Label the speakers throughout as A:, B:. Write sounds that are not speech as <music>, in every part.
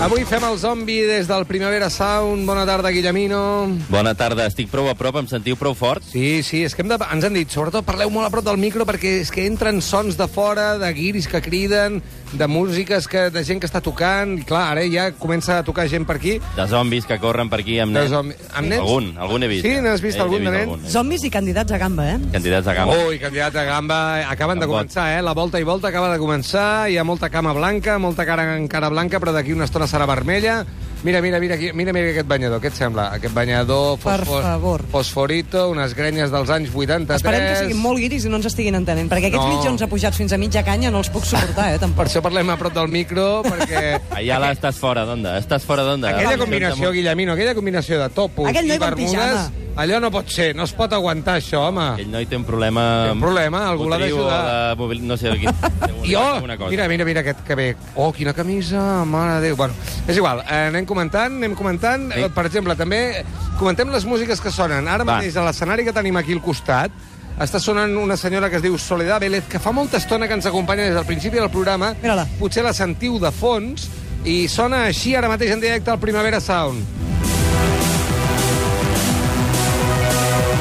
A: Avui fem el zombi des del Primavera Sound. Bona tarda, Guillemino.
B: Bona tarda, estic prou a prop, em sentiu prou forts?
A: Sí, sí, és que hem de... ens han dit, sobretot parleu molt a prop del micro perquè és que entren sons de fora, de guiris que criden, de músiques, que, de gent que està tocant, i clar, ara ja comença a tocar gent per aquí.
B: De zombis que corren per aquí amb
A: De
B: nens.
A: zombi- amb nens?
B: Algun, algun he vist.
A: Sí, n'has
B: eh?
A: vist
B: He- he
A: algun de
B: vist
A: nens? Oh,
B: algun, eh?
C: Zombis i candidats a gamba, eh?
B: Candidats a gamba.
A: Ui, candidat a gamba, acaben de
B: Amb vot.
A: començar, eh? La volta i volta acaba de començar, hi ha molta cama blanca, molta cara encara blanca, però d'aquí una estona serà vermella. Mira, mira, mira, aquí, mira, mira aquest banyador, què et sembla? Aquest banyador
C: Per favor.
A: fosforito, unes grenyes dels anys 83...
C: Esperem que siguin molt guiris i no ens estiguin entenent, perquè aquests
A: No.
C: mitjons apujats fins a mitja canya no els puc suportar, eh,
A: Per
C: tampoc.
A: això parlem a prop del micro,
C: <laughs>
A: perquè...
B: Ayala, estàs fora d'onda, estàs fora d'onda.
A: Aquella combinació, Guillemino, aquella combinació de topos
C: Aquell
A: i
C: noi va en
A: bermudes, allò no pot ser, no es pot aguantar això, home.
B: Aquell noi té un problema...
A: Té un problema, algú l'ha
B: motriu
A: d'ajudar.
B: o de mobil- No sé, aquí...
A: <laughs> I oh, mira, mira, mira aquest que ve. Oh, quina camisa, mare de Déu. Bueno, és igual, eh, anem comentant, anem comentant.
B: Sí.
A: Eh, Per exemple, també comentem les músiques que sonen. Ara
B: Va.
A: mateix, a l'escenari que tenim aquí al costat, està sonant una senyora que es diu Soledad Vélez, que fa molta estona que ens acompanya des del principi del programa.
C: Mira-la.
A: Potser la sentiu de fons i sona així ara mateix en directe al Primavera Sound.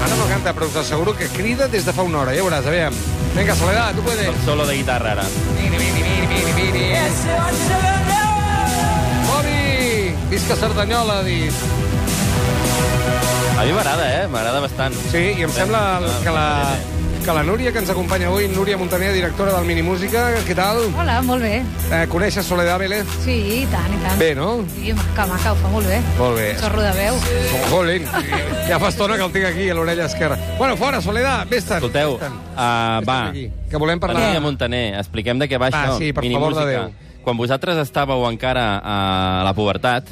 A: Ara no canta, però us asseguro que crida des de fa una hora. Ja veuràs, aviam. Vinga, Soledad, tu puedes.
B: Un solo de guitarra, ara.
A: Miri, miri, miri, miri, miri. Boni! Visca Cerdanyola, ha dit.
B: A mi m'agrada, eh? M'agrada bastant.
A: Sí, i em sembla
B: Ah,
A: que la,
B: sí,
A: que la Núria, que ens acompanya avui, Núria Montaner, directora del Minimúsica, què tal?
D: Hola, molt bé.
A: Eh, coneixes Soledad Vélez?
D: Sí, i tant, i tant.
A: Bé, no?
D: Sí, maca, maca, ho fa molt bé.
A: Molt bé.
D: Sorro de veu.
A: Jolín, ja fa estona que el tinc aquí, a l'orella esquerra. Bueno, fora, Soledad, vés-te'n.
B: Escolteu,
A: vés-te'n.
B: uh, va,
A: Vés-te'n d'aquí, Que volem
B: per
A: parlar...
B: Lídia Montaner, expliquem de què va
A: Va,
B: això.
A: sí, per
B: Minimúsica.
A: favor de Déu.
B: Quan vosaltres estàveu encara eh, a la pubertat,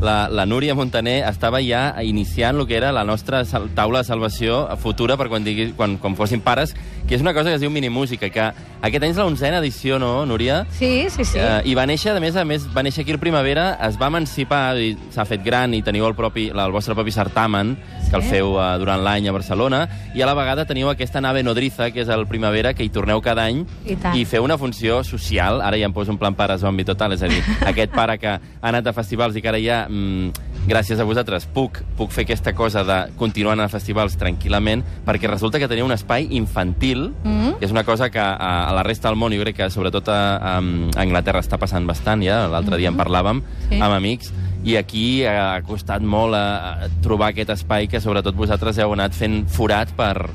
B: la, la Núria Montaner estava ja iniciant el que era la nostra sal- taula de salvació futura per quan, digui, quan, quan fossin pares, que és una cosa que es diu Minimúsica, que aquest any és la onzena edició, no, Núria?
D: Sí, sí, sí.
B: Eh, I va néixer, a més a més, va néixer aquí al Primavera, es va emancipar, i s'ha fet gran i teniu el, propi, la- el vostre propi certamen, que el
D: Sí.
B: feu eh, durant l'any a Barcelona, i a la vegada teniu aquesta nave nodriza, que és el Primavera, que hi torneu cada any
D: I tant.
B: i feu una funció social, ara ja em poso un plan pare zombi total, és a dir, aquest pare que ha anat a festivals i que ara ja... Mm, Gràcies a vosaltres puc, puc fer aquesta cosa de continuar anant a festivals tranquil·lament perquè resulta que teniu un espai infantil
D: Mhm.
B: que és una cosa que a, a la resta del món, jo crec que sobretot a, a Anglaterra està passant bastant, ja l'altre dia en parlàvem
D: Sí.
B: amb amics, i aquí eh, ha costat molt a, a trobar aquest espai que sobretot vosaltres heu anat fent forat per,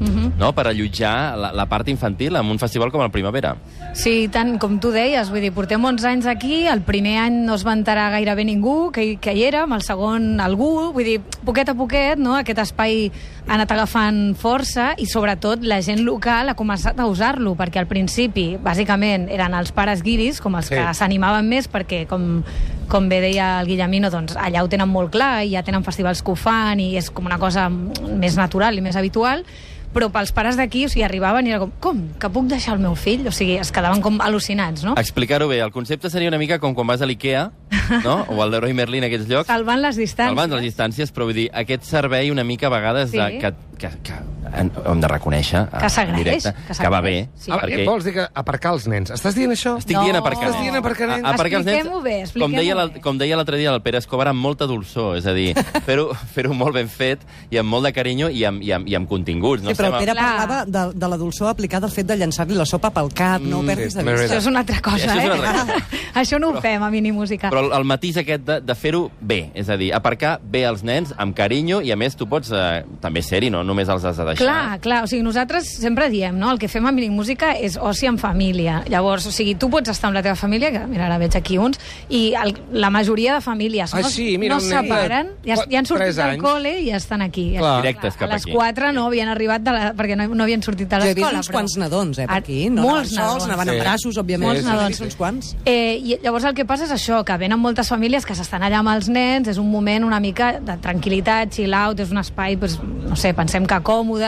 D: Mhm.
B: no, per allotjar la, la part infantil en un festival com el Primavera.
D: Sí, i tant, com tu deies, vull dir, portem 11 anys aquí, el primer any no es va enterar gairebé ningú que, hi- que hi érem, el segon algú, vull dir, poquet a poquet, no?, aquest espai ha anat agafant força i sobretot la gent local ha començat a usar-lo, perquè al principi, bàsicament, eren els pares guiris, com els
A: Sí.
D: sí. que s'animaven més, perquè com, com bé deia el Guillemino, doncs allà ho tenen molt clar i ja tenen festivals que ho fan i és com una cosa més natural i més habitual, però pels pares d'aquí, o sigui, arribaven i era com, com, que puc deixar el meu fill? O sigui, es quedaven com al·lucinats, no?
B: Explicar-ho bé, el concepte seria una mica com quan vas a l'IKEA,
D: <laughs>
B: no? o al Leroy Merlin, a aquests llocs,
D: Salvant les distàncies.
B: Salvant les distàncies, però vull dir, aquest servei una mica a vegades
D: Sí.
B: de, que, que, que en- hem de reconèixer eh,
D: Que s'agraeix,
B: en directe,
D: que
B: que va bé.
D: s'agraeix, sí.
A: Ah,
B: perquè-
A: Vols dir que aparcar els nens? Estàs dient això?
B: Estic
D: No.
B: dient aparcar
D: Estàs dient
A: aparcar nens.
B: A- aparcar els nens,
D: Expliquem-ho bé, expliquem-ho
B: com deia, la,
D: bé.
B: com deia l'altre dia el Pere Escobar, amb molta dolçor, és a
D: <laughs>
B: dir, fer-ho fer molt ben fet i amb molt de carinyo i amb, i amb, i amb continguts. No
C: Sí, però el
B: estem
C: Pere
B: a-
D: Clar.
C: parlava de, de la dolçor aplicada al fet de llançar-li la sopa pel cap, no ho perdis de
A: Mm, és
C: vista.
D: Això és una altra cosa,
B: Això és una altra
D: eh?
B: cosa.
D: <laughs> Això no ho fem a Minimúsica.
B: Però el, el matís aquest de, de fer-ho bé, és a dir, aparcar bé els nens, amb carinyo, i a més tu pots eh, també ser-hi, no només els has de deixar
D: Clar, clar, o sigui, nosaltres sempre diem, no?, el que fem a Mínic Música és oci en família. Llavors, o sigui, tu pots estar amb la teva família, que mira, ara veig aquí uns, i el, la majoria de famílies
A: Ah,
D: no,
A: sí, mira,
D: no
A: un
D: es
A: nen de
D: separen, ja,
A: qua-
D: ja han sortit
A: tres
D: del
A: anys.
D: col·le i ja estan aquí. Ja
A: Clar.
D: estan-
B: Directes cap
D: a les
B: aquí.
D: 4 no havien arribat, de la, perquè no, no havien sortit de
C: Jo he
D: l'escola.
C: vist uns quants nadons, eh, per aquí. No
D: Ah, molts
C: anaven sols,
D: nadons.
C: anaven
A: Sí.
C: amb braços, òbviament.
D: Molts
C: Sí, sí,
D: nadons.
C: sí, Uns quants.
D: Eh, i llavors el que passa és això, que venen moltes famílies que s'estan allà amb els nens, és un moment una mica de tranquil·litat, chill out, és un espai, doncs, no sé, pensem que còmode,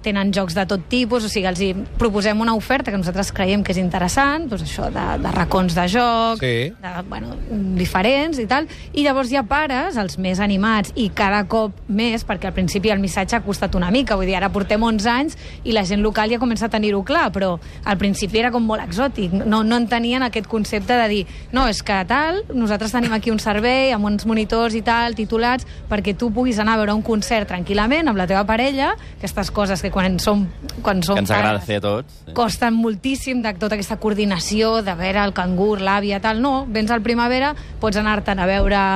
D: tenen jocs de tot tipus, o sigui, els hi proposem una oferta que nosaltres creiem que és interessant, doncs això de, de racons de joc,
A: Sí.
D: de, bueno, diferents i tal, i llavors hi ha pares, els més animats, i cada cop més, perquè al principi el missatge ha costat una mica, vull dir, ara portem 11 anys i la gent local ja comença a tenir-ho clar, però al principi era com molt exòtic, no, no entenien aquest concepte de dir, no, és que tal, nosaltres tenim aquí un servei amb uns monitors i tal, titulats, perquè tu puguis anar a veure un concert tranquil·lament amb la teva parella, aquestes coses que quan som, quan som
B: Que ens agrada
D: pares-
B: fer a tots. Sí.
D: costen moltíssim de tota aquesta coordinació de veure el cangur, l'àvia, tal, no, vens al primavera, pots anar-te'n a veure a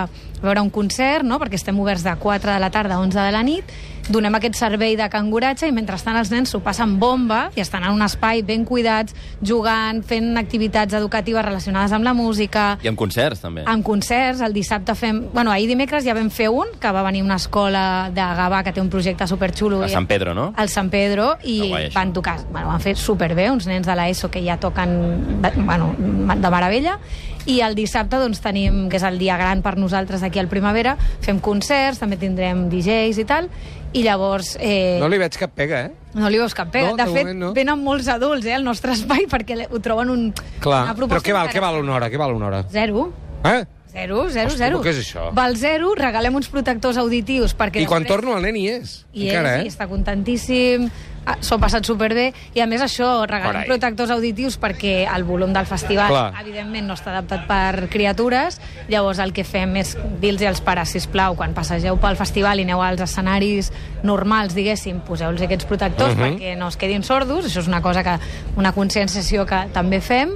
D: veure un concert, no? perquè estem oberts de 4 de la tarda a 11 de la nit, donem aquest servei de canguratge i mentrestant els nens s'ho passen bomba i estan en un espai ben cuidats, jugant, fent activitats educatives relacionades amb la música,
B: I amb concerts, també.
D: amb concerts, el dissabte fem... Bueno, ahir dimecres ja vam fer un, que va venir una escola de Gavà que té un projecte superxulo.
B: A
D: i-
B: Sant Pedro, no?
D: al San Pedro i
B: Que guai, això.
D: van tocar, bueno, van fer superbé uns nens de l'ESO que ja toquen de, bueno, de meravella i el dissabte doncs tenim, que és el dia gran per nosaltres aquí al Primavera, fem concerts, també tindrem DJs i tal i llavors... Eh,
A: No li veig cap pega, eh?
D: no li veus cap pega.
A: No,
D: de,
A: de
D: fet,
A: moment no.
D: venen molts adults eh, al nostre espai perquè le- ho troben un,
A: Clar.
D: una
A: Però
D: proposta.
A: què val, què val
D: interessant.
A: una hora? Què val una hora?
D: Zero.
A: Eh?
D: Zero, zero,
A: Hosti,
D: zero.
A: però què és això?
D: Val zero, regalem uns protectors auditius perquè...
A: I quan
D: després-
A: torno el nen hi és.
D: i
A: Encara,
D: és, i
A: eh?
D: està contentíssim, ah, s'ho ha passat superbé, i a més això, regalem
A: Carai.
D: protectors auditius perquè el volum del festival,
A: Clar.
D: evidentment, no està adaptat per criatures, llavors el que fem és dir-los als pares, sisplau, quan passegeu pel festival i aneu als escenaris normals, diguéssim, poseu-los aquests
A: Mhm.
D: protectors uh -huh. perquè no es quedin sordos, això és una cosa que, una conscienciació que també fem,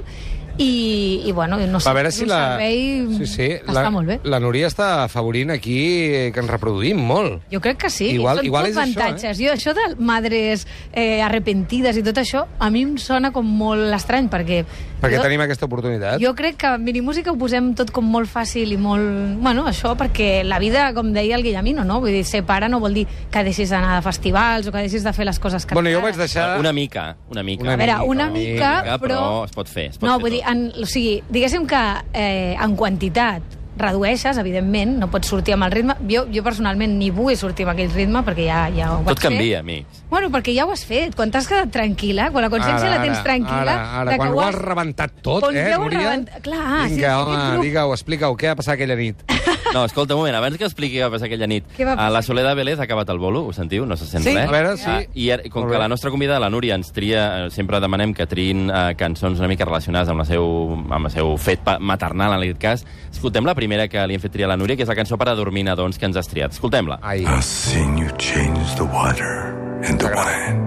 D: i, i bueno, no sé,
A: A veure
D: és
A: si
D: un
A: la...
D: servei que
A: la,
D: està molt bé.
A: la Núria està afavorint aquí eh, que ens reproduïm molt.
D: Jo crec que sí,
A: Igual-
D: són
A: igual
D: tot
A: és això,
D: avantatges. Això, eh? Jo, això de madres eh, arrepentides i tot això, a mi em sona com molt estrany, perquè...
A: Perquè
D: jo,
A: tenim aquesta oportunitat.
D: Jo crec que en minimúsica ho posem tot com molt fàcil i molt... Bueno, això perquè la vida, com deia el Guillemino, no? Vull dir, ser pare no vol dir que deixis d'anar a festivals o que deixis de fer les coses que...
A: Bueno, jo vaig
D: t'agraden.
A: deixar...
B: Una mica, una mica.
A: Una
D: A veure,
A: mica,
D: una
A: una
D: mica,
B: mica, però
D: però...
B: es pot fer, es pot
D: no,
B: fer
D: vull dir,
B: tot.
D: en, o sigui, diguéssim que eh, en quantitat redueixes, evidentment, no pots sortir amb el ritme. Jo, jo personalment ni vull sortir amb aquell ritme perquè ja, ja ho vaig
B: Tot canvia,
D: fer.
B: amics.
D: Bueno, perquè ja ho has fet. Quan t'has quedat tranquil·la, quan la consciència
A: Ara,
D: la tens
A: ara,
D: tranquil·la...
A: Ara, ara,
D: de que
A: quan ho
D: ho
A: has rebentat tot,
D: Quan
A: eh,
D: ja ho has
A: Núria?
D: rebent- Clar, sí,
A: Vinga,
D: sí,
A: home,
D: aquest grup.
A: digue-ho, explica-ho, què va passar aquella nit?
B: No, escolta, un moment, abans que expliqui què va passar aquella nit.
D: Què va
B: a
D: passar?
B: la Soledad Vélez ha acabat el bolo, ho sentiu? No se sent
C: Sí,
B: res.
A: a veure, sí.
B: Ah, I ara, com
A: Molt
B: que
A: bé.
B: la nostra convidada, la Núria, ens tria, eh, sempre demanem que triïn eh, cançons una mica relacionades amb, la seu, amb el seu fet pa- maternal, en aquest cas. Escoltem la primera que li hem fet triar a la Núria, que és la cançó per a dormir nadons que ens has triat. Escoltem-la.
A: Ai,
E: I've seen you change the water into wine.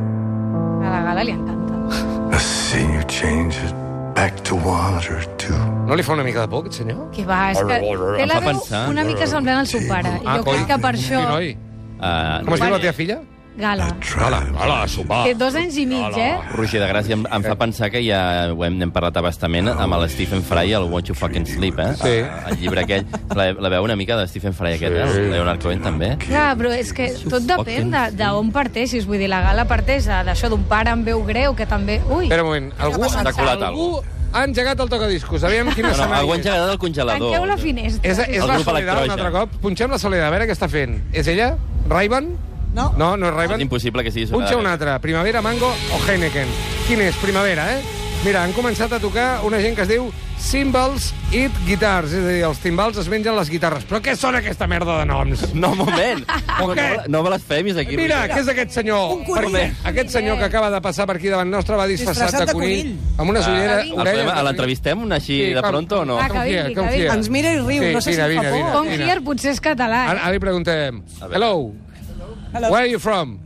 D: A la gala li encanta.
E: I've seen you change it back to water too.
A: no li fa una mica de por, aquest senyor?
D: Que va, és que té
B: Em
D: la
B: fa
D: veu
B: pensar.
D: una mica semblant al seu pare. I jo crec que per això...
A: Sí, Ah, noi.
B: Uh,
A: Com es diu la teva filla?
D: Gala.
E: Hola, hola, sopar.
D: Té dos anys i mig, eh?
B: Roger de Gràcia em, em fa pensar que ja ho hem, n'hem parlat abastament amb el Stephen Fry, el Watch You Fucking Sleep, eh?
A: Sí.
B: El llibre aquell, la, la veu una mica de Stephen Fry aquest, eh? El Leonard Cohen també.
D: Clar, però és que tot depèn de- d'on parteixis. Vull dir, la gala parteix de- d'això d'un pare amb veu greu, que també... Ui,
A: Espera un moment, algú,
B: passat? T'ha colat
A: algú ha engegat el tocadiscos, aviam quin
B: No, no,
A: escenari
B: algú ha
A: és.
B: engegat el congelador.
D: tanqueu la finestra.
A: És, és
B: El
A: la
B: grup
A: Soledad un
B: Electrogen.
A: altre cop. Punxem la Soledad, a veure què està fent. És ella? Ray-Ban?
C: No.
A: No, no és
B: És
A: Ray-Ban?
B: impossible que sigui
A: Punxa un
B: Ah, Soledad.
A: altre. Primavera, Mango o Heineken. Quin és? Primavera, eh? Mira, han començat a tocar una gent que es diu Cymbals Eat Guitars. És a dir, els timbals es mengen les guitarres. Però què són aquesta merda de noms?
B: No, un
D: <laughs>
B: moment!
A: O
B: No,
A: què?
B: no me les femis, aquí.
A: Mira,
B: Roger.
A: què és aquest senyor?
C: Un conill.
A: Perquè Aquest senyor que acaba de passar per aquí davant nostre va disfressat
C: Disfressat
A: de
C: de
A: conill.
C: conill.
A: Amb unes ulleres...
B: Ah, El podem-
A: orelles de
B: L'entrevistem una així
A: Sí,
B: de
A: com-
B: pronto o no?
D: Ah, que
A: Com
D: vingui,
A: fier, com
D: que vingui.
A: fier.
C: Ens mira i riu,
A: Sí,
C: no sé
A: vine,
C: si em
A: vine,
C: fa por.
A: vine.
D: Com Kier potser és català. eh?
A: Ara, ara li preguntem...
B: A veure.
A: Hello.
C: Hello.
A: Where are you from?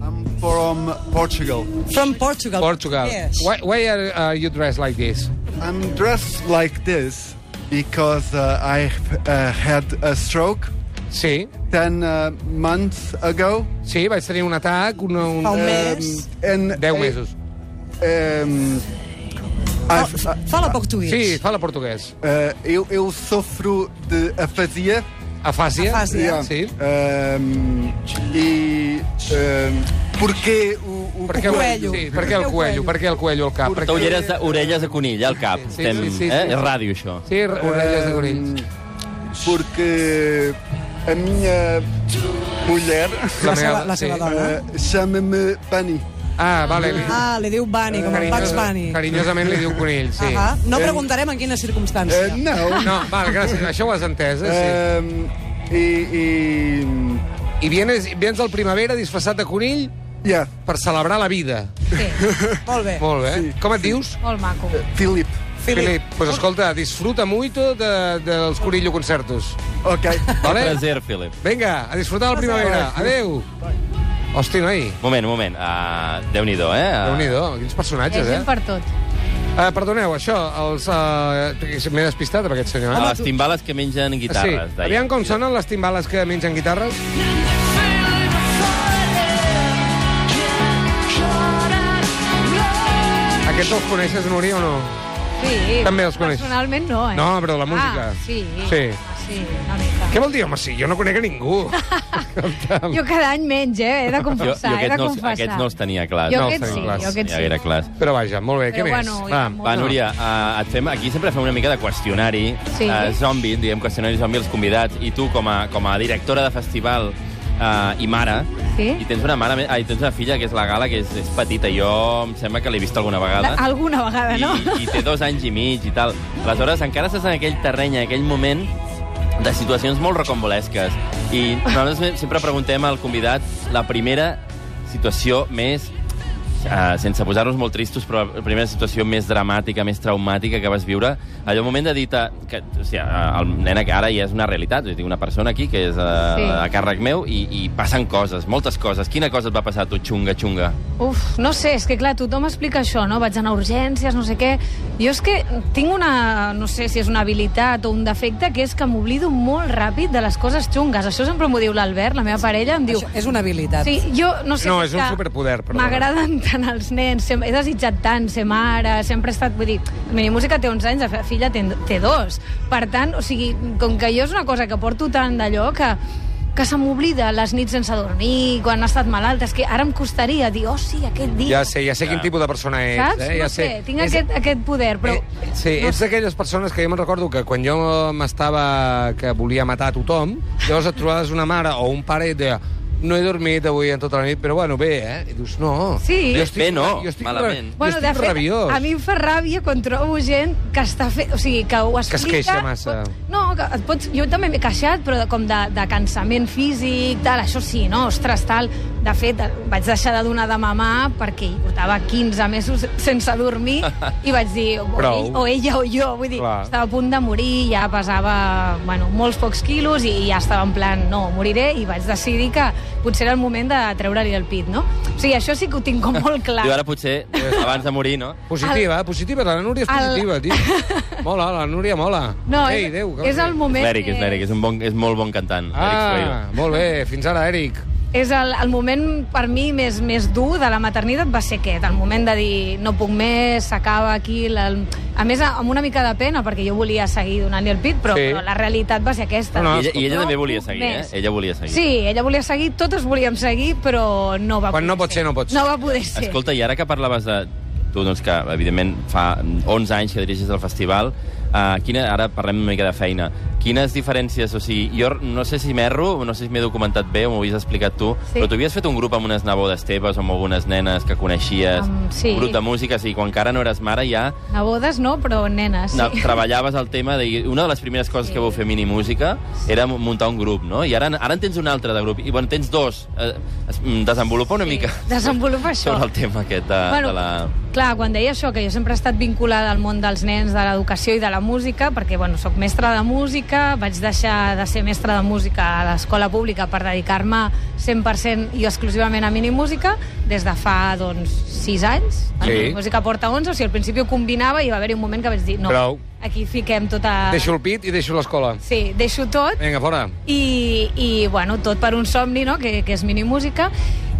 F: I'm from Portugal.
C: From Portugal.
A: Portugal.
C: Yes.
A: Why, why are uh, you dressed like this?
F: I'm dressed like this because uh, I uh, had a stroke
A: Sí,
F: 10 uh, months ago. Um,
A: sí, vaig tenir un atac, un... un...
C: Fa un
A: eh,
C: mes.
F: And
A: 10
F: I-
A: mesos.
F: Um, I've,
C: Fa- Fala portuguès.
A: Sí, fala português.
F: uh, eu, eu sofro de afasia.
A: Afàsia.
F: Ah,
C: Afàsia.
A: Sí.
F: Um, e um, porquê é o, o
A: Per què, el-
C: cuello.
A: Sí, per què el cuello?
C: El cuello.
A: Per què el cuello al cap?
B: Porta
A: Perquè...
B: ulleres de, orelles de conill eh, al cap.
A: Sí, sí,
B: Estem,
A: sí, sí,
B: eh?
A: sí.
B: És ràdio, això.
A: Sí, orelles de conill.
F: um, Porque a minha mulher
C: La, seva, la seva
A: sí.
C: dona.
F: eh, chama-me Bunny.
A: Ah, vale.
C: Ah, li diu Bunny, com el Bugs Bunny.
A: Carinyosament li diu conill, sí.
C: Ahà. No
F: Eh,
C: preguntarem en quines
F: Eh,
C: circumstàncies.
F: não.
A: No, val, gràcies. Això ho has entès, eh?
F: Um, e,
A: Sí. I vienes, viens al primavera disfressat de conill
F: e. Yeah,
A: per celebrar la vida.
D: Sí,
A: <laughs>
C: Molt bé.
A: Molt bé. Sí. Com et dius?
D: molt maco.
F: Filipe.
C: Filip.
A: Filip, pues escolta, disfruta muito de, dels Corillo concertos.
F: Ok.
G: <laughs>
B: Vale.
A: Vale?
B: Plaser, Philip.
A: Vinga, a disfrutar la primavera. Adeu. Hosti, noi,
B: Moment, moment. Uh, Déu-n'hi-do, eh? Ah,
A: déu-n'hi-do, quins
D: Hi ha
A: personatges, eh?
D: gent per tot.
A: Ah, perdoneu, això, els... Uh, M'he despistat amb aquest senyor,
B: A
A: eh?
B: Ah, les timbales que mengen guitarres.
A: sí.
B: deia.
A: Aviam com sonen les timbales que mengen guitarres. Aquests els coneixes, Núria, o no?
D: Sí.
A: També els coneix.
D: Personalment no, eh?
A: No, però la música.
D: Ah, sí.
A: Sí.
D: Sí, una mica.
A: Què vol dir, home, sí? Jo no conec a ningú.
D: <laughs> Jo cada any menys, eh? He de
B: Jo,
D: confessar,
B: jo
D: he de
B: aquests, no, els-
D: confessar.
B: aquests no els tenia clars.
D: Jo
A: No,
D: aquests
A: els
D: sí,
A: tenia clars.
D: jo aquests
B: Ja era
D: sí.
B: clar.
A: Però vaja, molt bé,
D: Però
A: què
D: bueno,
A: més?
D: i
A: Va,
D: molt-
B: Va,
D: No.
B: Núria, uh, et fem, aquí sempre fem una mica de qüestionari
D: Sí.
B: eh, zombi, diguem qüestionari zombi als convidats, i tu, com a, com a directora de festival eh, i mare,
D: Sí.
B: i tens una mare, me- ai, tens una filla que és la Gala, que és, és petita, jo em sembla que l'he vist alguna vegada,
D: Alguna vegada,
B: i,
D: Ah, no?
B: i té dos anys i mig i tal. Aleshores, encara estàs en aquell terreny, en aquell moment de situacions molt recombolesques. I nosaltres sempre preguntem al convidat la primera situació més Uh, sense posar-nos molt tristos, però la primera situació més dramàtica, més traumàtica que vas viure, allò moment de dir que, o sigui, eh, el nen que ara ja és una realitat, jo tinc una persona aquí que és uh, sí.
D: Sí.
B: a càrrec meu i, i passen coses, moltes coses. Quina cosa et va passar a tu, xunga, xunga?
D: Uf, no sé, és que clar, tothom explica això, no? Vaig anar a urgències, no sé què... Jo és que tinc una, no sé si és una habilitat o un defecte, que és que m'oblido molt ràpid de les coses xungues. Això sempre m'ho diu l'Albert, la meva parella, em diu...
C: Això és una habilitat.
D: Sí, jo no sé...
A: No,
D: si
A: és un
D: que
A: superpoder, perdona.
D: M'agraden tant els nens, sem- he desitjat tant ser mare, sempre he estat... Vull dir, mini música té 11 anys, la fe- filla té, té dos. Per tant, o sigui, com que jo és una cosa que porto tant d'allò que que se m'oblida les nits sense dormir, quan he estat malalta, és que ara em costaria dir, oh sí, aquest dia...
A: Ja sé, ja sé quin
B: Ja.
A: tipus de persona ets.
D: Saps?
A: Eh? Ja
D: no sé,
A: sé.
D: tinc aquest, aquest poder, però...
A: Eh, sí, ets d'aquelles persones que jo me'n recordo que quan jo m'estava... que volia matar a tothom, llavors et trobaves una mare o un pare i et deia no he dormit avui en tota la nit, però bueno, bé, eh? I dius, no.
D: Sí.
B: Bé, no, malament.
A: Jo estic rabiós.
D: a mi em fa ràbia quan trobo gent que està fe... O sigui, que ho
A: Que es
D: explica...
A: queixa massa.
D: Pot... No, que et pots... jo també m'he queixat, però de, com de, de cansament físic, tal, això sí, no? Ostres, tal. De fet, vaig deixar de donar de mamar perquè hi portava 15 mesos sense dormir i vaig dir, o,
A: Prou.
D: ell, o ella o jo, vull dir,
A: Clar.
D: estava a punt de morir, ja pesava, bueno, molts pocs quilos i ja estava en plan, no, moriré, i vaig decidir que potser era el moment de treure-li el pit, no? O sigui, això sí que ho tinc com molt clar.
B: Diu, ara potser, abans de morir, no?
A: Positiva, el... positiva, la Núria és
D: El-
A: positiva,
D: <laughs>
A: el... tio. Mola, la Núria mola.
D: No,
A: Ei,
D: és,
A: Déu, que
D: és el moment...
B: L'Eric, és
D: més-
B: l'Eric, és, un bon, és molt bon cantant.
A: Ah,
B: Ah.
A: molt bé, fins ara, Eric.
D: És el, el moment, per mi, més, més dur de la maternitat va ser aquest, el moment de dir no puc més, s'acaba aquí... La... A més, amb una mica de pena, perquè jo volia seguir donant-li el pit, però,
A: Sí.
D: sí. però la realitat va ser aquesta.
A: No, no,
B: I ella, i ella
D: No
B: també volia
D: puc
B: seguir, eh?
D: més.
B: Ella volia seguir.
D: Sí, ella volia seguir, totes volíem seguir, però no va
A: Quan
D: poder
A: no pot ser, no pot ser.
D: No va poder ser.
B: Escolta, i ara que parlaves de... Tu, doncs, que evidentment fa 11 anys que dirigis el festival, uh, quina, ara parlem una mica de feina. Quines diferències, o sigui, jo no sé si m'erro, no sé si m'he documentat bé o m'ho havies explicat tu,
D: Sí.
B: però tu havies fet un grup amb unes nebodes teves o amb algunes nenes que coneixies,
D: Amb- sí.
B: un grup de música, sí, quan encara no eres mare ja
D: A bodes no, però nenes,
B: no,
D: sí.
B: treballaves el tema de... Una de les primeres coses que vau fer a Mini Música era mu- muntar un grup, no? I ara, ara en tens un altre de grup. I bueno, tens dos. Eh, es- mm, desenvolupa una sí. mica
D: Desenvolupa això.
B: sobre el
A: eh,
B: tema aquest de, bueno, de la...
D: clar, quan deia això, que jo sempre he estat vinculada al món dels nens, de l'educació i de la estudiar música, perquè bueno, sóc mestra de música, vaig deixar de ser mestra de música a l'escola pública per dedicar-me 100% i exclusivament a minimúsica des de fa, doncs, 6 anys.
A: Sí.
D: La música porta 11, o sigui, al principi ho combinava i va haver-hi un moment que vaig dir, no,
A: Prou.
D: aquí fiquem tota...
A: Deixo el pit i deixo l'escola.
D: Sí, deixo tot
A: Vinga, fora.
D: i, i bueno, tot per un somni, no?, que, que és minimúsica.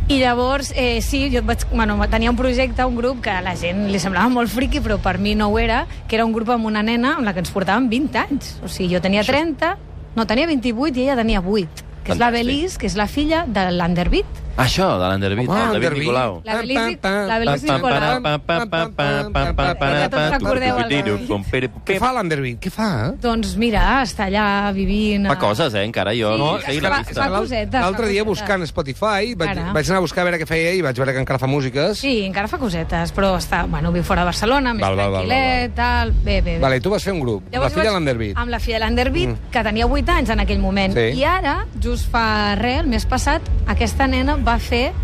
D: I llavors, eh, sí, jo vaig, bueno, tenia un projecte, un grup, que a la gent li semblava molt friqui, però per mi no ho era, que era un grup amb una nena amb la que ens portàvem 20 anys. O sigui, jo tenia 30, no, tenia 28 i ella tenia 8, que és la
B: Fantàstic.
D: Belis, que és la filla de l'Underbeat.
B: Això, de l'Underbeat, el David Nicolau.
D: La Belis- la Belis Nicolau.
A: Què fa l'Underbeat? Què fa?
D: Doncs mira, està allà vivint... eh,
B: Fa coses, eh, encara. Jo
D: Sí,
B: no
D: és
B: seguir
D: que
B: la
D: va-
B: pista.
D: va- cosetes,
A: L'altre
D: fa
A: dia
D: cosetes.
A: buscant Spotify vaig,
D: Ara.
A: vaig anar a buscar a veure què feia i vaig veure que encara fa músiques.
D: Sí, encara fa cosetes, però està, bueno, viu fora de Barcelona, més
A: Val, val, val,
D: tranquil·let, tal... Bé, bé, bé.
A: Vale, tu vas fer un grup, la filla
D: vaig-
A: de l'Underbeat.
D: Amb la filla de l'Underbeat, mm. que tenia 8 anys en aquell moment.
A: Sí.
D: I ara, just fa res, el mes passat, aquesta nena va fer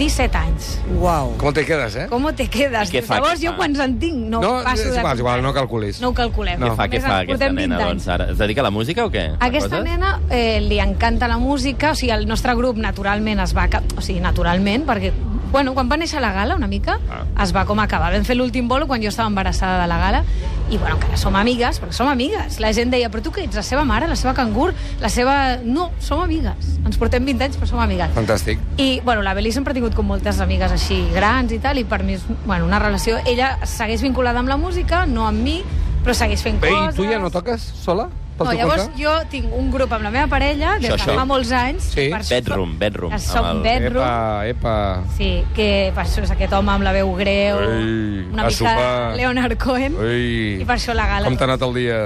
D: 17 anys.
C: Uau.
A: Com te quedes, eh?
D: Com te quedes?
B: Què
D: Dius,
B: fa,
D: Llavors,
B: què
D: jo
B: fa?
D: quants en tinc? No,
A: No,
D: passo
A: és
D: de
A: igual, és igual,
D: comptar.
A: no calculis.
D: No ho calculem.
B: Què fa, què fa
D: Només ens
B: aquesta
D: portem
B: nena,
D: 20 anys.
B: doncs, ara? Es dedica a la música o què? Fa
D: Aquesta
B: coses?
D: nena eh, li encanta la música, o sigui, el nostre grup naturalment es va... ca- O sigui, naturalment, perquè, bueno, quan va néixer la gala, una mica,
B: Ah.
D: ah. es va com acabar. Vam fer l'últim bolo quan jo estava embarassada de la gala, i, bueno, encara som amigues, perquè som amigues. La gent deia, però tu què ets, la seva mare, la seva cangur, la seva... No, som amigues. Ens portem 20 anys, però som amigues.
A: Fantàstic.
D: I, bueno, la Beli sempre ha tingut com moltes amigues així grans i tal, i per mi és bueno, una relació... Ella segueix vinculada amb la música, no amb mi, però segueix fent
A: Bé, i
D: coses...
A: tu ja no toques sola? Pel
D: No,
A: teu
D: llavors
A: compte?
D: jo tinc un grup amb la meva parella des
B: Això,
D: de
B: això.
D: fa molts anys.
A: Sí.
D: Per sort-
B: Bedroom, bedroom.
D: Que som
B: amb el-
D: bedroom.
A: Epa, epa.
D: Sí, que per això és aquest home amb la veu greu,
A: Ei,
D: una
A: a
D: mica
A: sopar.
D: Leonard Cohen,
A: Ei,
D: i per això la gala.
A: com t'ha anat el dia?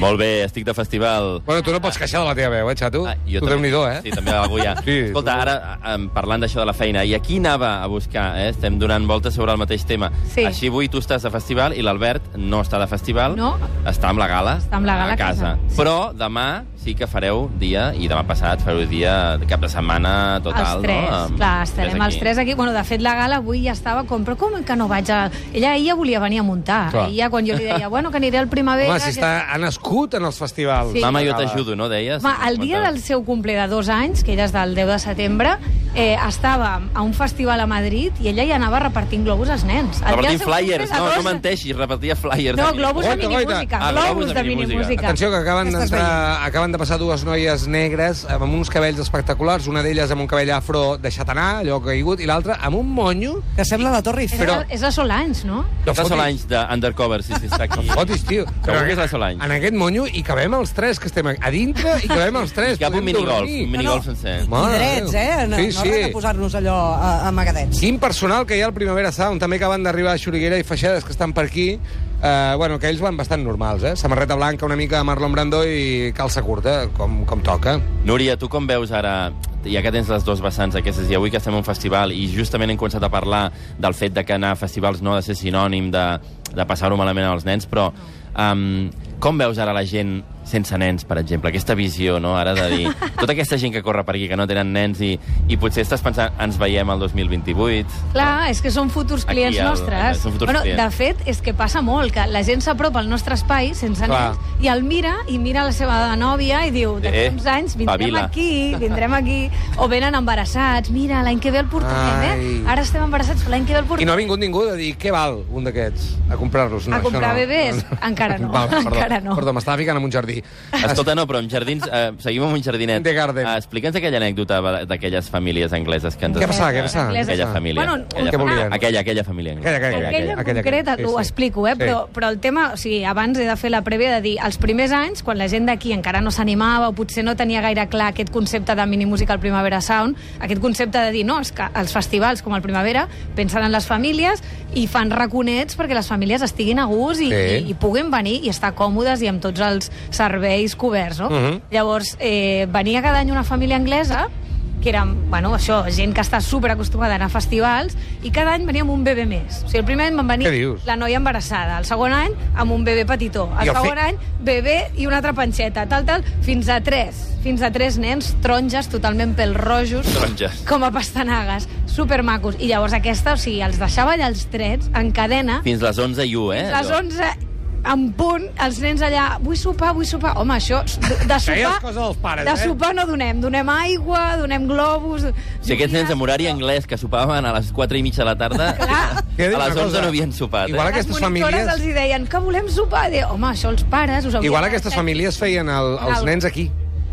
B: Molt bé, estic de festival.
A: Bueno, tu no pots queixar de la teva veu, eh, xato?
B: Ah,
A: tu déu-n'hi-do, eh?
B: Sí, també algú ja.
A: <laughs> Sí.
B: Escolta, ara, eh, em, parlant d'això de la feina, i a qui anava a buscar? Eh? Estem donant voltes sobre el mateix tema.
D: Sí.
B: Així avui tu estàs de festival i l'Albert no està de festival.
D: No.
B: Està amb la gala.
D: Està amb la gala
B: A casa.
D: a casa. Sí.
B: Però demà sí que fareu dia, i demà passat fareu dia de cap de setmana total,
D: els tres,
B: no? Amb-
D: clar, estarem els tres aquí. Bueno, de fet, la gala avui ja estava com, però com que no vaig a... Ella ahir ja volia venir a muntar.
A: Clar.
D: Ahir ja, quan jo li deia, bueno, que aniré al primavera...
A: Home, si
D: que-
A: està, ha nascut en els festivals. Ah,
D: Sí.
B: Mama, jo t'ajudo, no, deies?
D: Home, el dia del seu cumple de dos anys, que ella és del 10 de setembre, eh, estava a un festival a Madrid i ella hi anava repartint globus als nens. El dia del
B: Repartint
D: seu
B: flyers,
D: cumple de
B: no,
D: dos-
B: no menteixis, repartia flyers.
D: No,
B: aquí.
D: globus de
A: Guaita, guaita.
D: minimúsica.
B: Ah, globus
D: globus
B: de
D: de
B: minimúsica.
D: minimúsica.
A: Atenció, que acaben,
C: Estàs
A: d'entrar- acaben de passar dues noies negres amb uns cabells espectaculars, una d'elles amb un cabell afro deixat anar, allò caigut, i l'altra amb un monyo...
C: Que sembla la Torre
D: És,
C: Eiffel.
D: però...
A: Però-
D: la, és la Solanys, no?
B: No
A: fotis.
B: Solanys d'Undercover, sí, sí, està aquí.
A: Fotis, tio.
B: Segur que és la Solanys.
A: En aquest monyo hi cabem els tres, que estem a dintre, i cabem els tres.
B: I cap un
A: podem
B: minigolf,
A: dormir.
B: un minigolf sencer.
C: I
A: Mare
C: drets,
A: Déu.
C: eh? No,
A: sí,
C: no
A: sí.
C: res de posar-nos allò a- amagadets.
A: Quin personal que hi ha al Primavera Sound, també que van d'arribar a Xuriguera i Feixedes, que estan per aquí. Eh, bueno, que ells van bastant normals, eh? Samarreta blanca, una mica Marlon Brando i calça curta, com, com toca.
B: Núria, tu com veus ara, ja que tens les dues vessants aquestes, i avui que estem a un festival i justament hem començat a parlar del fet de que anar a festivals no ha de ser sinònim de, de passar-ho malament als nens, però um, com veus ara la gent sense nens, per exemple? Aquesta visió, no?, ara de dir... Tota aquesta gent que corre per aquí, que no tenen nens, i, i potser estàs pensant, ens veiem el 2028...
D: Clar, és que són futurs
B: Aquí
D: clients
B: el-
D: nostres.
B: són futurs
D: bueno,
B: clients.
D: De fet, és que passa molt, que la gent s'apropa al nostre espai sense
A: Clar.
D: nens i el mira, i mira la seva nòvia i diu, d'aquí
B: Eh,
D: uns anys vindrem
B: pavila."
D: aquí, vindrem aquí, o venen embarassats, mira, l'any que ve el portarem, eh?
A: Ai.
D: Ara estem embarassats, però l'any que ve el
A: I
D: portarem.
A: no ha vingut ningú de dir què val un d'aquests a comprar-los. No,
D: A
A: això
D: comprar
A: no.
D: bebès? Encara no,
A: <laughs> Val, perdó,
D: encara no.
A: Perdó, m'estava ficant en un jardí.
B: Escolta, no, però amb jardins... Eh, seguim amb un jardinet.
A: The Garden.
B: Eh, Explica'ns aquella anècdota d'aquelles famílies angleses que ens...
A: Què passava, què passava?
D: Anglesa.
B: Aquella família.
D: Bueno,
B: aquella,
A: Què
B: família.
A: volien?
B: aquella, aquella família anglesa.
A: Aquella, aquella,
D: aquella,
A: aquella,
D: aquella concreta,
A: aquella.
D: que ho
A: Sí, sí.
D: explico, eh?
A: Sí.
D: Però, però el tema, o sigui, abans he de fer la prèvia de dir, els primers anys, quan la gent d'aquí encara no s'animava o potser no tenia gaire clar aquest concepte de minimúsica al Primavera Sound, aquest concepte de dir, no, els, ca- els festivals com el Primavera pensen en les famílies i fan raconets perquè les famílies estiguin a gust i,
A: Sí.
D: i, i puguin venir i estar còmodes i amb tots els serveis coberts, no?
A: Mhm.
D: Llavors, eh, venia cada any una família anglesa que eren, bueno, això, gent que està super acostumada a anar a festivals, i cada any venia amb un bebè més. O sigui, el primer any van venir
A: Què dius?
D: la noia embarassada, el segon any amb un bebè petitó, el,
A: I el
D: segon
A: fe-
D: any bebè i una altra panxeta, tal, tal, fins a tres. Fins a tres nens, taronges, totalment pèl rojos,
B: Taronges.
D: com a pastanagues, supermacos. I llavors aquesta, o sigui, els deixava allà els trets, en cadena,
B: Fins les 11 i 1, eh?
D: les
B: allò.
D: 11 en punt, els nens allà, vull sopar, vull sopar... Home, això, de, de
A: Deia
D: sopar...
A: les coses dels pares,
D: de
A: eh?
D: sopar no donem, donem aigua, donem globus...
B: Si aquests nens amb horari anglès que sopaven a les 4 i mitja de la tarda,
A: Que dic
B: a
A: una
B: les 11
A: cosa,
B: no havien sopat.
A: igual
B: Eh?
A: aquestes
D: les Ah, monitores
A: famílies-
D: els hi deien que volem sopar. Deia, home, això els pares... Us hauríeu
A: Igual
D: de
A: aquestes
D: fer-
A: famílies feien el, els
D: Cal.
A: nens aquí,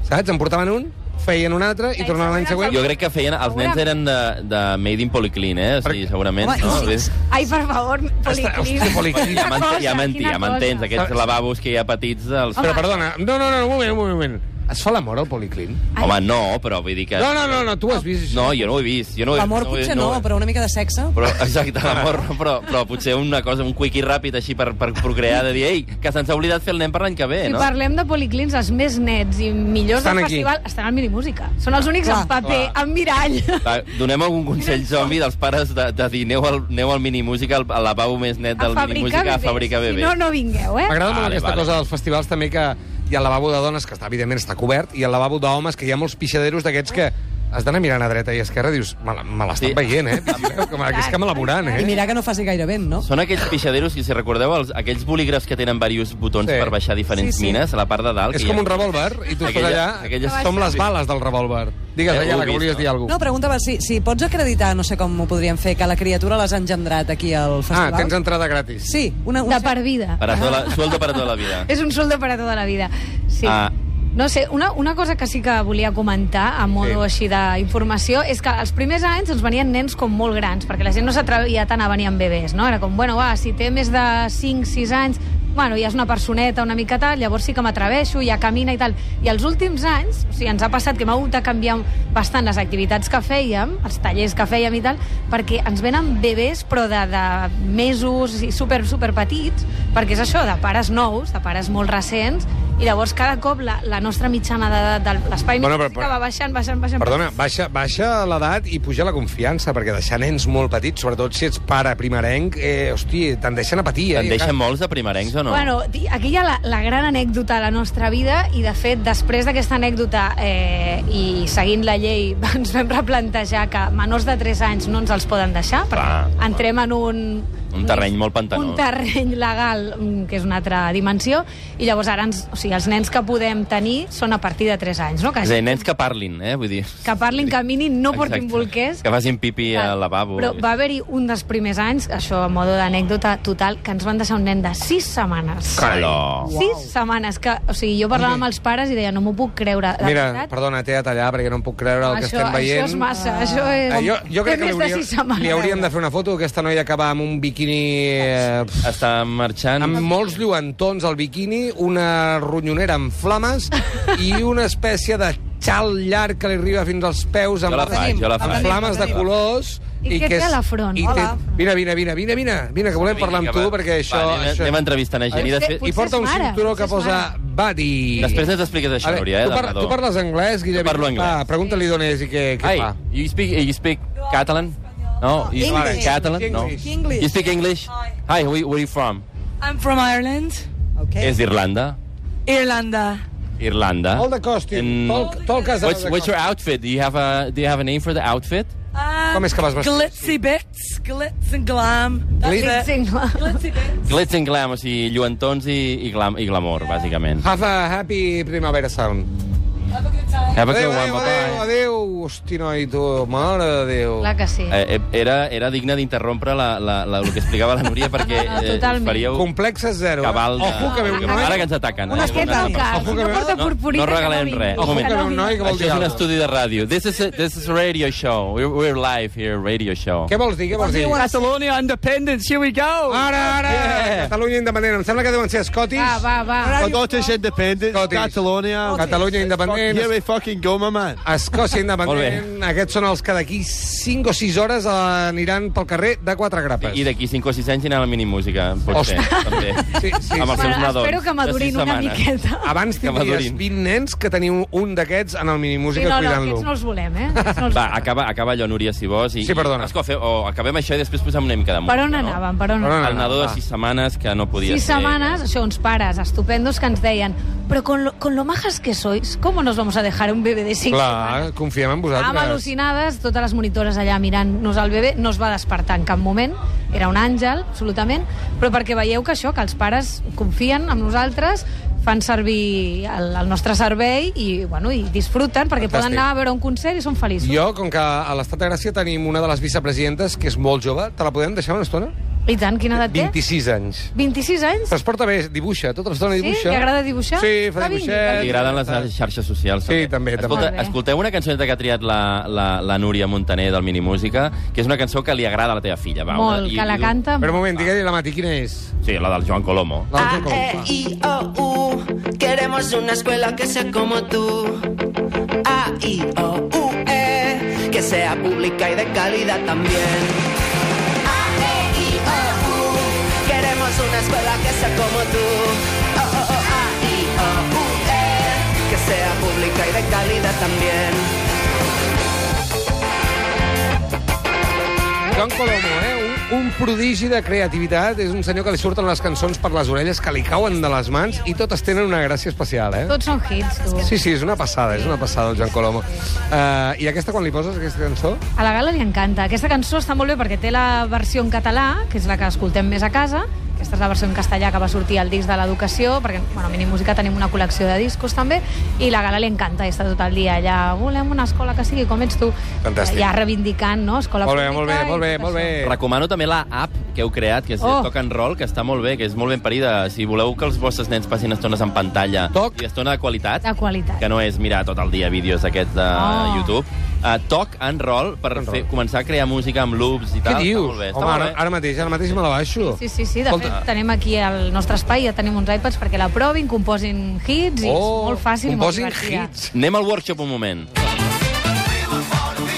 A: saps? En portaven un, feien un altre i tornaven l'any següent.
B: Jo crec que feien... Els nens eren de, de Made in Policlin, eh? O sigui, segurament.
C: Home,
B: no?
C: i-
B: Ves-
D: Ai, per favor, policlínic.
A: hòstia, policlínic.
B: Ja
D: Quina
B: m'ent-
D: cosa,
B: ja m'entens,
D: quina
B: ja m'entens,
D: cosa.
B: aquests lavabos que hi ha petits dels...
A: Però perdona, no, no, no, un moment, un moment. Es fa l'amor al policlín?
B: Home, no, però vull dir que...
A: No, no, no, no, tu has vist això.
B: No, jo no ho he vist. Jo no ho he-
C: L'amor
B: ho he-
C: potser no,
B: ho he-
C: però una mica de sexe.
B: Però, exacte, l'amor, no, però, però potser una cosa, un quickie ràpid així per, per procrear, de dir, ei, que se'ns ha oblidat fer el nen per l'any que ve,
D: Si
B: eh, no?
D: parlem de policlins, els més nets i millors
A: Estan
D: del
A: aquí. Ah,
D: festival estan al Minimúsica. Són els únics
C: Clar,
D: en paper,
A: clar.
D: en mirall.
B: Va, donem algun consell zombi dels pares de, de dir aneu al, aneu al minimúsica, al, al lavabo més net del minimúsica, a fabricar
D: Si
B: bebès.
D: no, no vingueu, eh?
A: M'agrada molt
B: Vale,
A: aquesta
B: vale.
A: cosa dels festivals també que hi ha el lavabo de dones, que està, evidentment està cobert, i el lavabo d'homes, que hi ha molts pixaderos d'aquests que has d'anar mirant a dreta i esquerra i dius, me la- me l'estan
B: Sí.
A: veient, eh? Vigileu, que me Aquest que me la veuran, eh?
C: I mirar que no faci gaire vent, no?
B: Són aquells pixaderos, que si recordeu, els, aquells bolígrafs que tenen diversos botons
A: Sí.
B: per baixar diferents
C: Sí, sí.
B: mines, a la part de dalt.
A: És
B: que hi
A: com
B: ha-
A: un revòlver i tu estàs
B: Aquella-
A: allà...
B: aquelles-
A: Som les bales del revòlver. Digues,
B: Eh,
A: allà,
B: ho
A: la
B: he
A: que
B: vist,
A: volies
B: no?
A: dir alguna
C: No, preguntava si, si pots acreditar, no sé com ho podríem fer, que la criatura l'has engendrat aquí al
A: Ah,
C: festival.
A: tens entrada gratis.
C: Sí, una... una
D: De per vida.
B: Per a tota la, sueldo per a tota la vida.
D: <laughs> És un soldo per a tota la vida. Sí.
B: Ah.
D: No sé, una, una cosa que sí que volia comentar, a modo
A: Sí.
D: sí. així d'informació, és que els primers anys ens venien nens com molt grans, perquè la gent no s'atrevia tant a venir amb bebès, no? Era com, bueno, va, si té més de 5-6 anys, bueno, ja és una personeta una mica tal, llavors sí que m'atreveixo, ja camina i tal. I els últims anys, o sigui, ens ha passat que hem hagut de canviar bastant les activitats que fèiem, els tallers que fèiem i tal, perquè ens venen bebès però de, de mesos i super, super petits, perquè és això, de pares nous, de pares molt recents, i llavors cada cop la, la nostra mitjana de, de, de l'espai
A: Bueno,
D: bueno,
A: però-
D: que va baixant, baixant, baixant.
A: Perdona, baixa, baixa l'edat i puja la confiança, perquè deixar nens molt petits, sobretot si ets pare primerenc, eh, hosti, te'n deixen a patir, eh?
B: Te'n deixen molts de primerencs o no?
D: Bueno, di- aquí hi ha la, la gran anècdota de la nostra vida i, de fet, després d'aquesta anècdota eh, i seguint la llei <laughs> ens vam replantejar que menors de 3 anys no ens els poden deixar perquè
B: Clar, clar.
D: entrem en un...
B: Un terreny molt pantanós.
D: Un terreny legal, mm, que és una altra dimensió, i llavors ara ens, o sigui, els nens que podem tenir són a partir de 3 anys, no? Que,
B: És a dir, nens que parlin, eh? Vull dir...
D: que parlin, caminin, no portin
B: Exacte.
D: bolquers.
B: Que facin pipi al lavabo.
D: Però va haver-hi un dels primers anys, això a modo d'anècdota total, que ens van deixar un nen de 6 setmanes.
B: Calor.
D: Sis setmanes que... O sigui, jo parlava amb els pares i deia, no m'ho puc creure. De
A: Mira,
D: veritat,
A: perdona, t'he de tallar, perquè no em puc creure el que
D: això,
A: estem veient.
D: Això és massa, això és...
A: Eh, jo, jo crec
D: té
A: que li,
D: més de sis
A: hauria,
D: setmanes.
A: li hauríem de fer una foto aquesta noia que va amb un biquini... Eh, pf,
B: Està marxant...
A: amb molts lluentons al biquini, una ronyonera amb
D: <laughs>
A: flames i una espècie de xal llarg que li arriba fins als peus amb
B: Jo la faig, jo la
A: amb
B: faig.
A: flames de colors.
D: I què té
A: és-
D: a la front?
A: i
D: Hola.
A: Vine, vine, vine, vine, vine, vine, que volem parlar amb tu, perquè això...
B: Va, anem,
A: això...
B: anem entrevistant a gent i
D: Potser-
B: després...
A: I porta un
D: Potser és mare,
A: cinturó que
D: potser és
A: posa
D: mare.
A: Buddy.
B: I... Després ens expliques això,
A: A veure,
B: Núria, eh?
A: tu, par tu parles anglès, Guillem?
B: parlo anglès.
A: Va, pregunta-li d'on és i què, què
B: Ai,
A: fa.
B: you speak, you speak Catalan? No, you speak
A: English.
B: Catalan? No.
A: English.
C: English.
B: You speak English? Hi, where, where are you from?
H: I'm from Ireland,
C: Okay.
A: Eh.
B: És d'Irlanda.
H: Irlanda.
B: Irlanda.
A: All the costume.
B: Mm.
A: Tol, tol casa
B: What's, what's your outfit? Do you have a do you have a name for the outfit?
H: Um,
A: Com és que vas vestit?
H: Glitzy bits, glitz and glam. That's
A: Glitz?
H: it.
D: Sí, no.
H: Glitzy bits.
B: Glitz and glam, o sigui, lluentons i, i, glam, i glamour, bàsicament.
A: Have a happy primavera sound.
H: Have a good time.
B: Have a good
A: Adéu,
B: one,
A: adéu, adéu,
B: bye-bye.
A: adéu. Hosti, noi, tu, mare de Déu.
D: Clar que sí.
B: Eh, eh, era, era digne d'interrompre la, la, la, el que explicava la Núria perquè
D: no,
B: eh,
D: totalment.
B: faríeu
A: Complexes zero. eh?
B: cabal de...
A: Ojo, que ve un noi...
B: Ara que ens ataquen.
C: Unes
B: eh?
D: Què tal,
B: Una-
D: que
A: Ojo
D: si
A: que
D: no
A: ve-
D: porta
B: no,
D: purpurina...
B: no regalem res.
A: Ojo, que ve un noi que vol
B: Això
A: dir...
B: és un
A: alguna cosa.
B: estudi de ràdio. This is, this is radio show. We're, we're live here, radio show.
A: Què vols dir, què vols dir?
H: Catalonia independence, here we go.
A: Ara, ara! Catalunya independent. Em sembla que deuen ser escotis.
D: Ah, Va, va, va.
G: Scottish independence,
A: Scottish.
G: Catalonia.
A: Catalunya independent.
G: Here we fucking go, my man.
A: Escòcia
B: <laughs> Molt
A: independent. Aquests són els que d'aquí 5 o 6 hores eh, aniran pel carrer de quatre grapes.
B: I d'aquí 5 o 6 anys anirà a la minimúsica, potser,
A: Ostres. <laughs>
B: també.
A: Sí, sí,
B: Amb els
A: sí.
B: seus
D: Bueno,
B: nadons.
D: espero que madurin una miqueta.
A: Abans
B: Que
A: tindries
B: madurin.
A: 20 nens que teniu un d'aquests en el
D: Sí,
A: minimúsica
D: no, no,
A: cuidant-lo.
D: aquests no els volem, eh? Aquests No els
B: Va,
D: volem.
B: acaba, acaba allò, Núria, si vols. I,
A: Sí, perdona.
B: i- Escolta, fe- o acabem això i després posem una mica de música,
D: Per on
B: no?
D: anàvem, per on
A: Per on
D: anàvem?
B: El nadó de
A: Va.
B: 6 setmanes que no podia
D: Sis
B: ser.
D: setmanes, això, uns pares estupendos que ens deien però con lo, con lo majas que sois, ¿cómo nos vamos a dejar un bebé de cinc setmanes?"
A: Clar, confiem en vosaltres.
D: Estàvem al·lucinades, totes les monitores allà mirant-nos al bebè, no es va despertar en cap moment, era un àngel, absolutament, però perquè veieu que això, que els pares confien en nosaltres, fan servir el, el nostre servei i, bueno, i disfruten perquè
A: Fantàstic.
D: poden anar a veure un concert i són feliços.
A: Jo, com que a l'Estat de Gràcia tenim una de les vicepresidentes que és molt jove, te la podem deixar una estona?
D: I tant, quina edat té?
A: 26 anys.
D: 26 anys?
A: Però es porta bé, dibuixa, tota l'estona
D: Sí?
A: dibuixa.
D: Li agrada dibuixar?
A: Sí, fa
D: Que vingui, que
A: dibuixet.
B: Li agraden les xarxes socials.
A: Sí, també, també.
B: Escolta,
D: Molt bé.
B: escolteu una cançoneta que ha triat la, la, la Núria Montaner del Minimúsica, que és una cançó que li agrada a la teva filla. Va, una-
D: Molt,
B: i-
D: que la
B: i-
D: canta...
A: Però un moment, digue-li la Mati, quina és?
B: Sí, la del Joan Colomo.
A: La
I: A,
D: Ah,
A: del
D: eh,
I: E,
A: Jacob.
I: I, O, U. Queremos una escuela que sea como tú. A, I, O, U, E. Que sea pública y de calidad también. A, E, I, O, U. Queremos una escuela que sea como tú. O, O, O, A, I, O, U, E. Que sea pública y de calidad también.
A: Joan Colomo, eh? Un, un prodigi de creativitat. És un senyor que li surten les cançons per les orelles, que li cauen de les mans i totes tenen una gràcia especial, eh?
D: Tots són hits, tu.
A: Sí, sí, és una passada, és una passada, el Joan Colomo. Uh, I aquesta, quan li poses, aquesta cançó?
D: A la Gala li encanta. Aquesta cançó està molt bé perquè té la versió en català, que és la que escoltem més a casa, aquesta és la versió en castellà que va sortir al disc de l'educació, perquè, bueno, a Mini Música tenim una col·lecció de discos també, i la Gala li encanta i està tot el dia allà, volem una escola que sigui com ets tu.
A: Fantàstic.
D: Ja reivindicant, no?, escola
A: Molt bé,
D: pública
A: molt bé, molt bé,
D: i tot
A: molt
D: això.
A: bé.
B: Recomano també la app que heu creat, que és
D: Oh.
B: oh. Toc and Roll, que està molt bé, que és molt ben parida. Si voleu que els vostres nens passin estones en pantalla
A: Toc.
B: i estona de qualitat,
D: De qualitat.
B: que no és mirar tot el dia vídeos d'aquests de
D: Oh.
B: YouTube, uh, Toc and Roll per
A: Ah. and
B: fer,
A: roll.
B: començar a crear música amb loops i
A: Què
B: tal. Està
A: dius?
B: molt bé, està
A: Home,
B: molt
A: ara,
B: bé.
A: ara mateix, ara mateix me la baixo.
D: Sí, sí, sí. De
A: Escolta.
D: fet, tenim aquí al nostre espai, ja tenim uns iPads perquè la provin, composin hits, i és molt fàcil i molt
A: Oh, composin
D: divertida.
A: hits.
B: Anem al workshop un moment.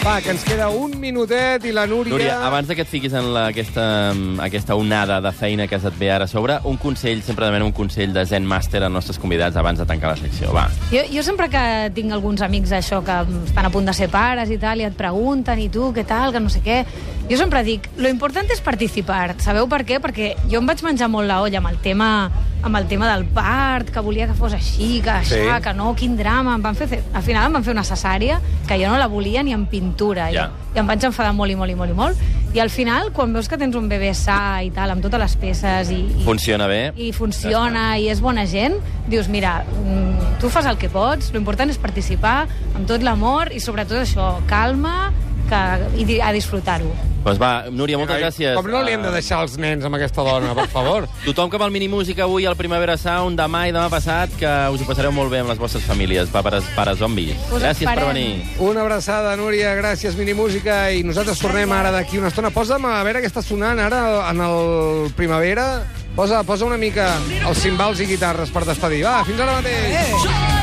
A: Va, que ens queda un minutet i la Núria...
B: Núria, abans de que et fiquis en la, aquesta, mm, aquesta onada de feina que se't ve ara a sobre, un consell, sempre demano un consell de Zen Master als nostres convidats abans de tancar la secció. Va.
D: Jo, jo sempre que tinc alguns amics això que estan a punt de ser pares i tal, i et pregunten, i tu, què tal, que no sé què... Jo sempre dic, lo important és participar. Sabeu per què? Perquè jo em vaig menjar molt la olla amb el tema, amb el tema del part, que volia que fos així, que
A: Sí.
D: això, sí. que no, quin drama. Em van fer, al final em van fer una cesària que jo no la volia ni en pintura.
B: Ja.
D: I, I em vaig enfadar molt i molt i molt i molt. I al final, quan veus que tens un bebè sa i tal, amb totes les peces i, i
B: Funciona bé?
D: i funciona i és bona gent, dius, mira, mm, tu fas el que pots, l'important és participar amb tot l'amor i sobretot això, calma que, i di- a disfrutar-ho.
B: Doncs va, Núria, moltes
A: Ai,
B: gràcies.
A: Com no li hem de
B: Eh,
A: deixar els nens amb aquesta dona, per
B: <laughs>
A: favor?
B: Tothom cap al Minimúsica avui al Primavera Sound, demà i demà passat, que us ho passareu molt bé amb les vostres famílies, pares, pares zombis.
D: Us
B: Gràcies per
D: esperem.
B: venir.
A: Una abraçada, Núria, gràcies, Minimúsica, i nosaltres tornem ara d'aquí una estona. Posa'm a veure què està sonant ara en el Primavera. Posa, posa una mica els cimbals i guitarres per despedir. Va, fins ara mateix.
I: Joy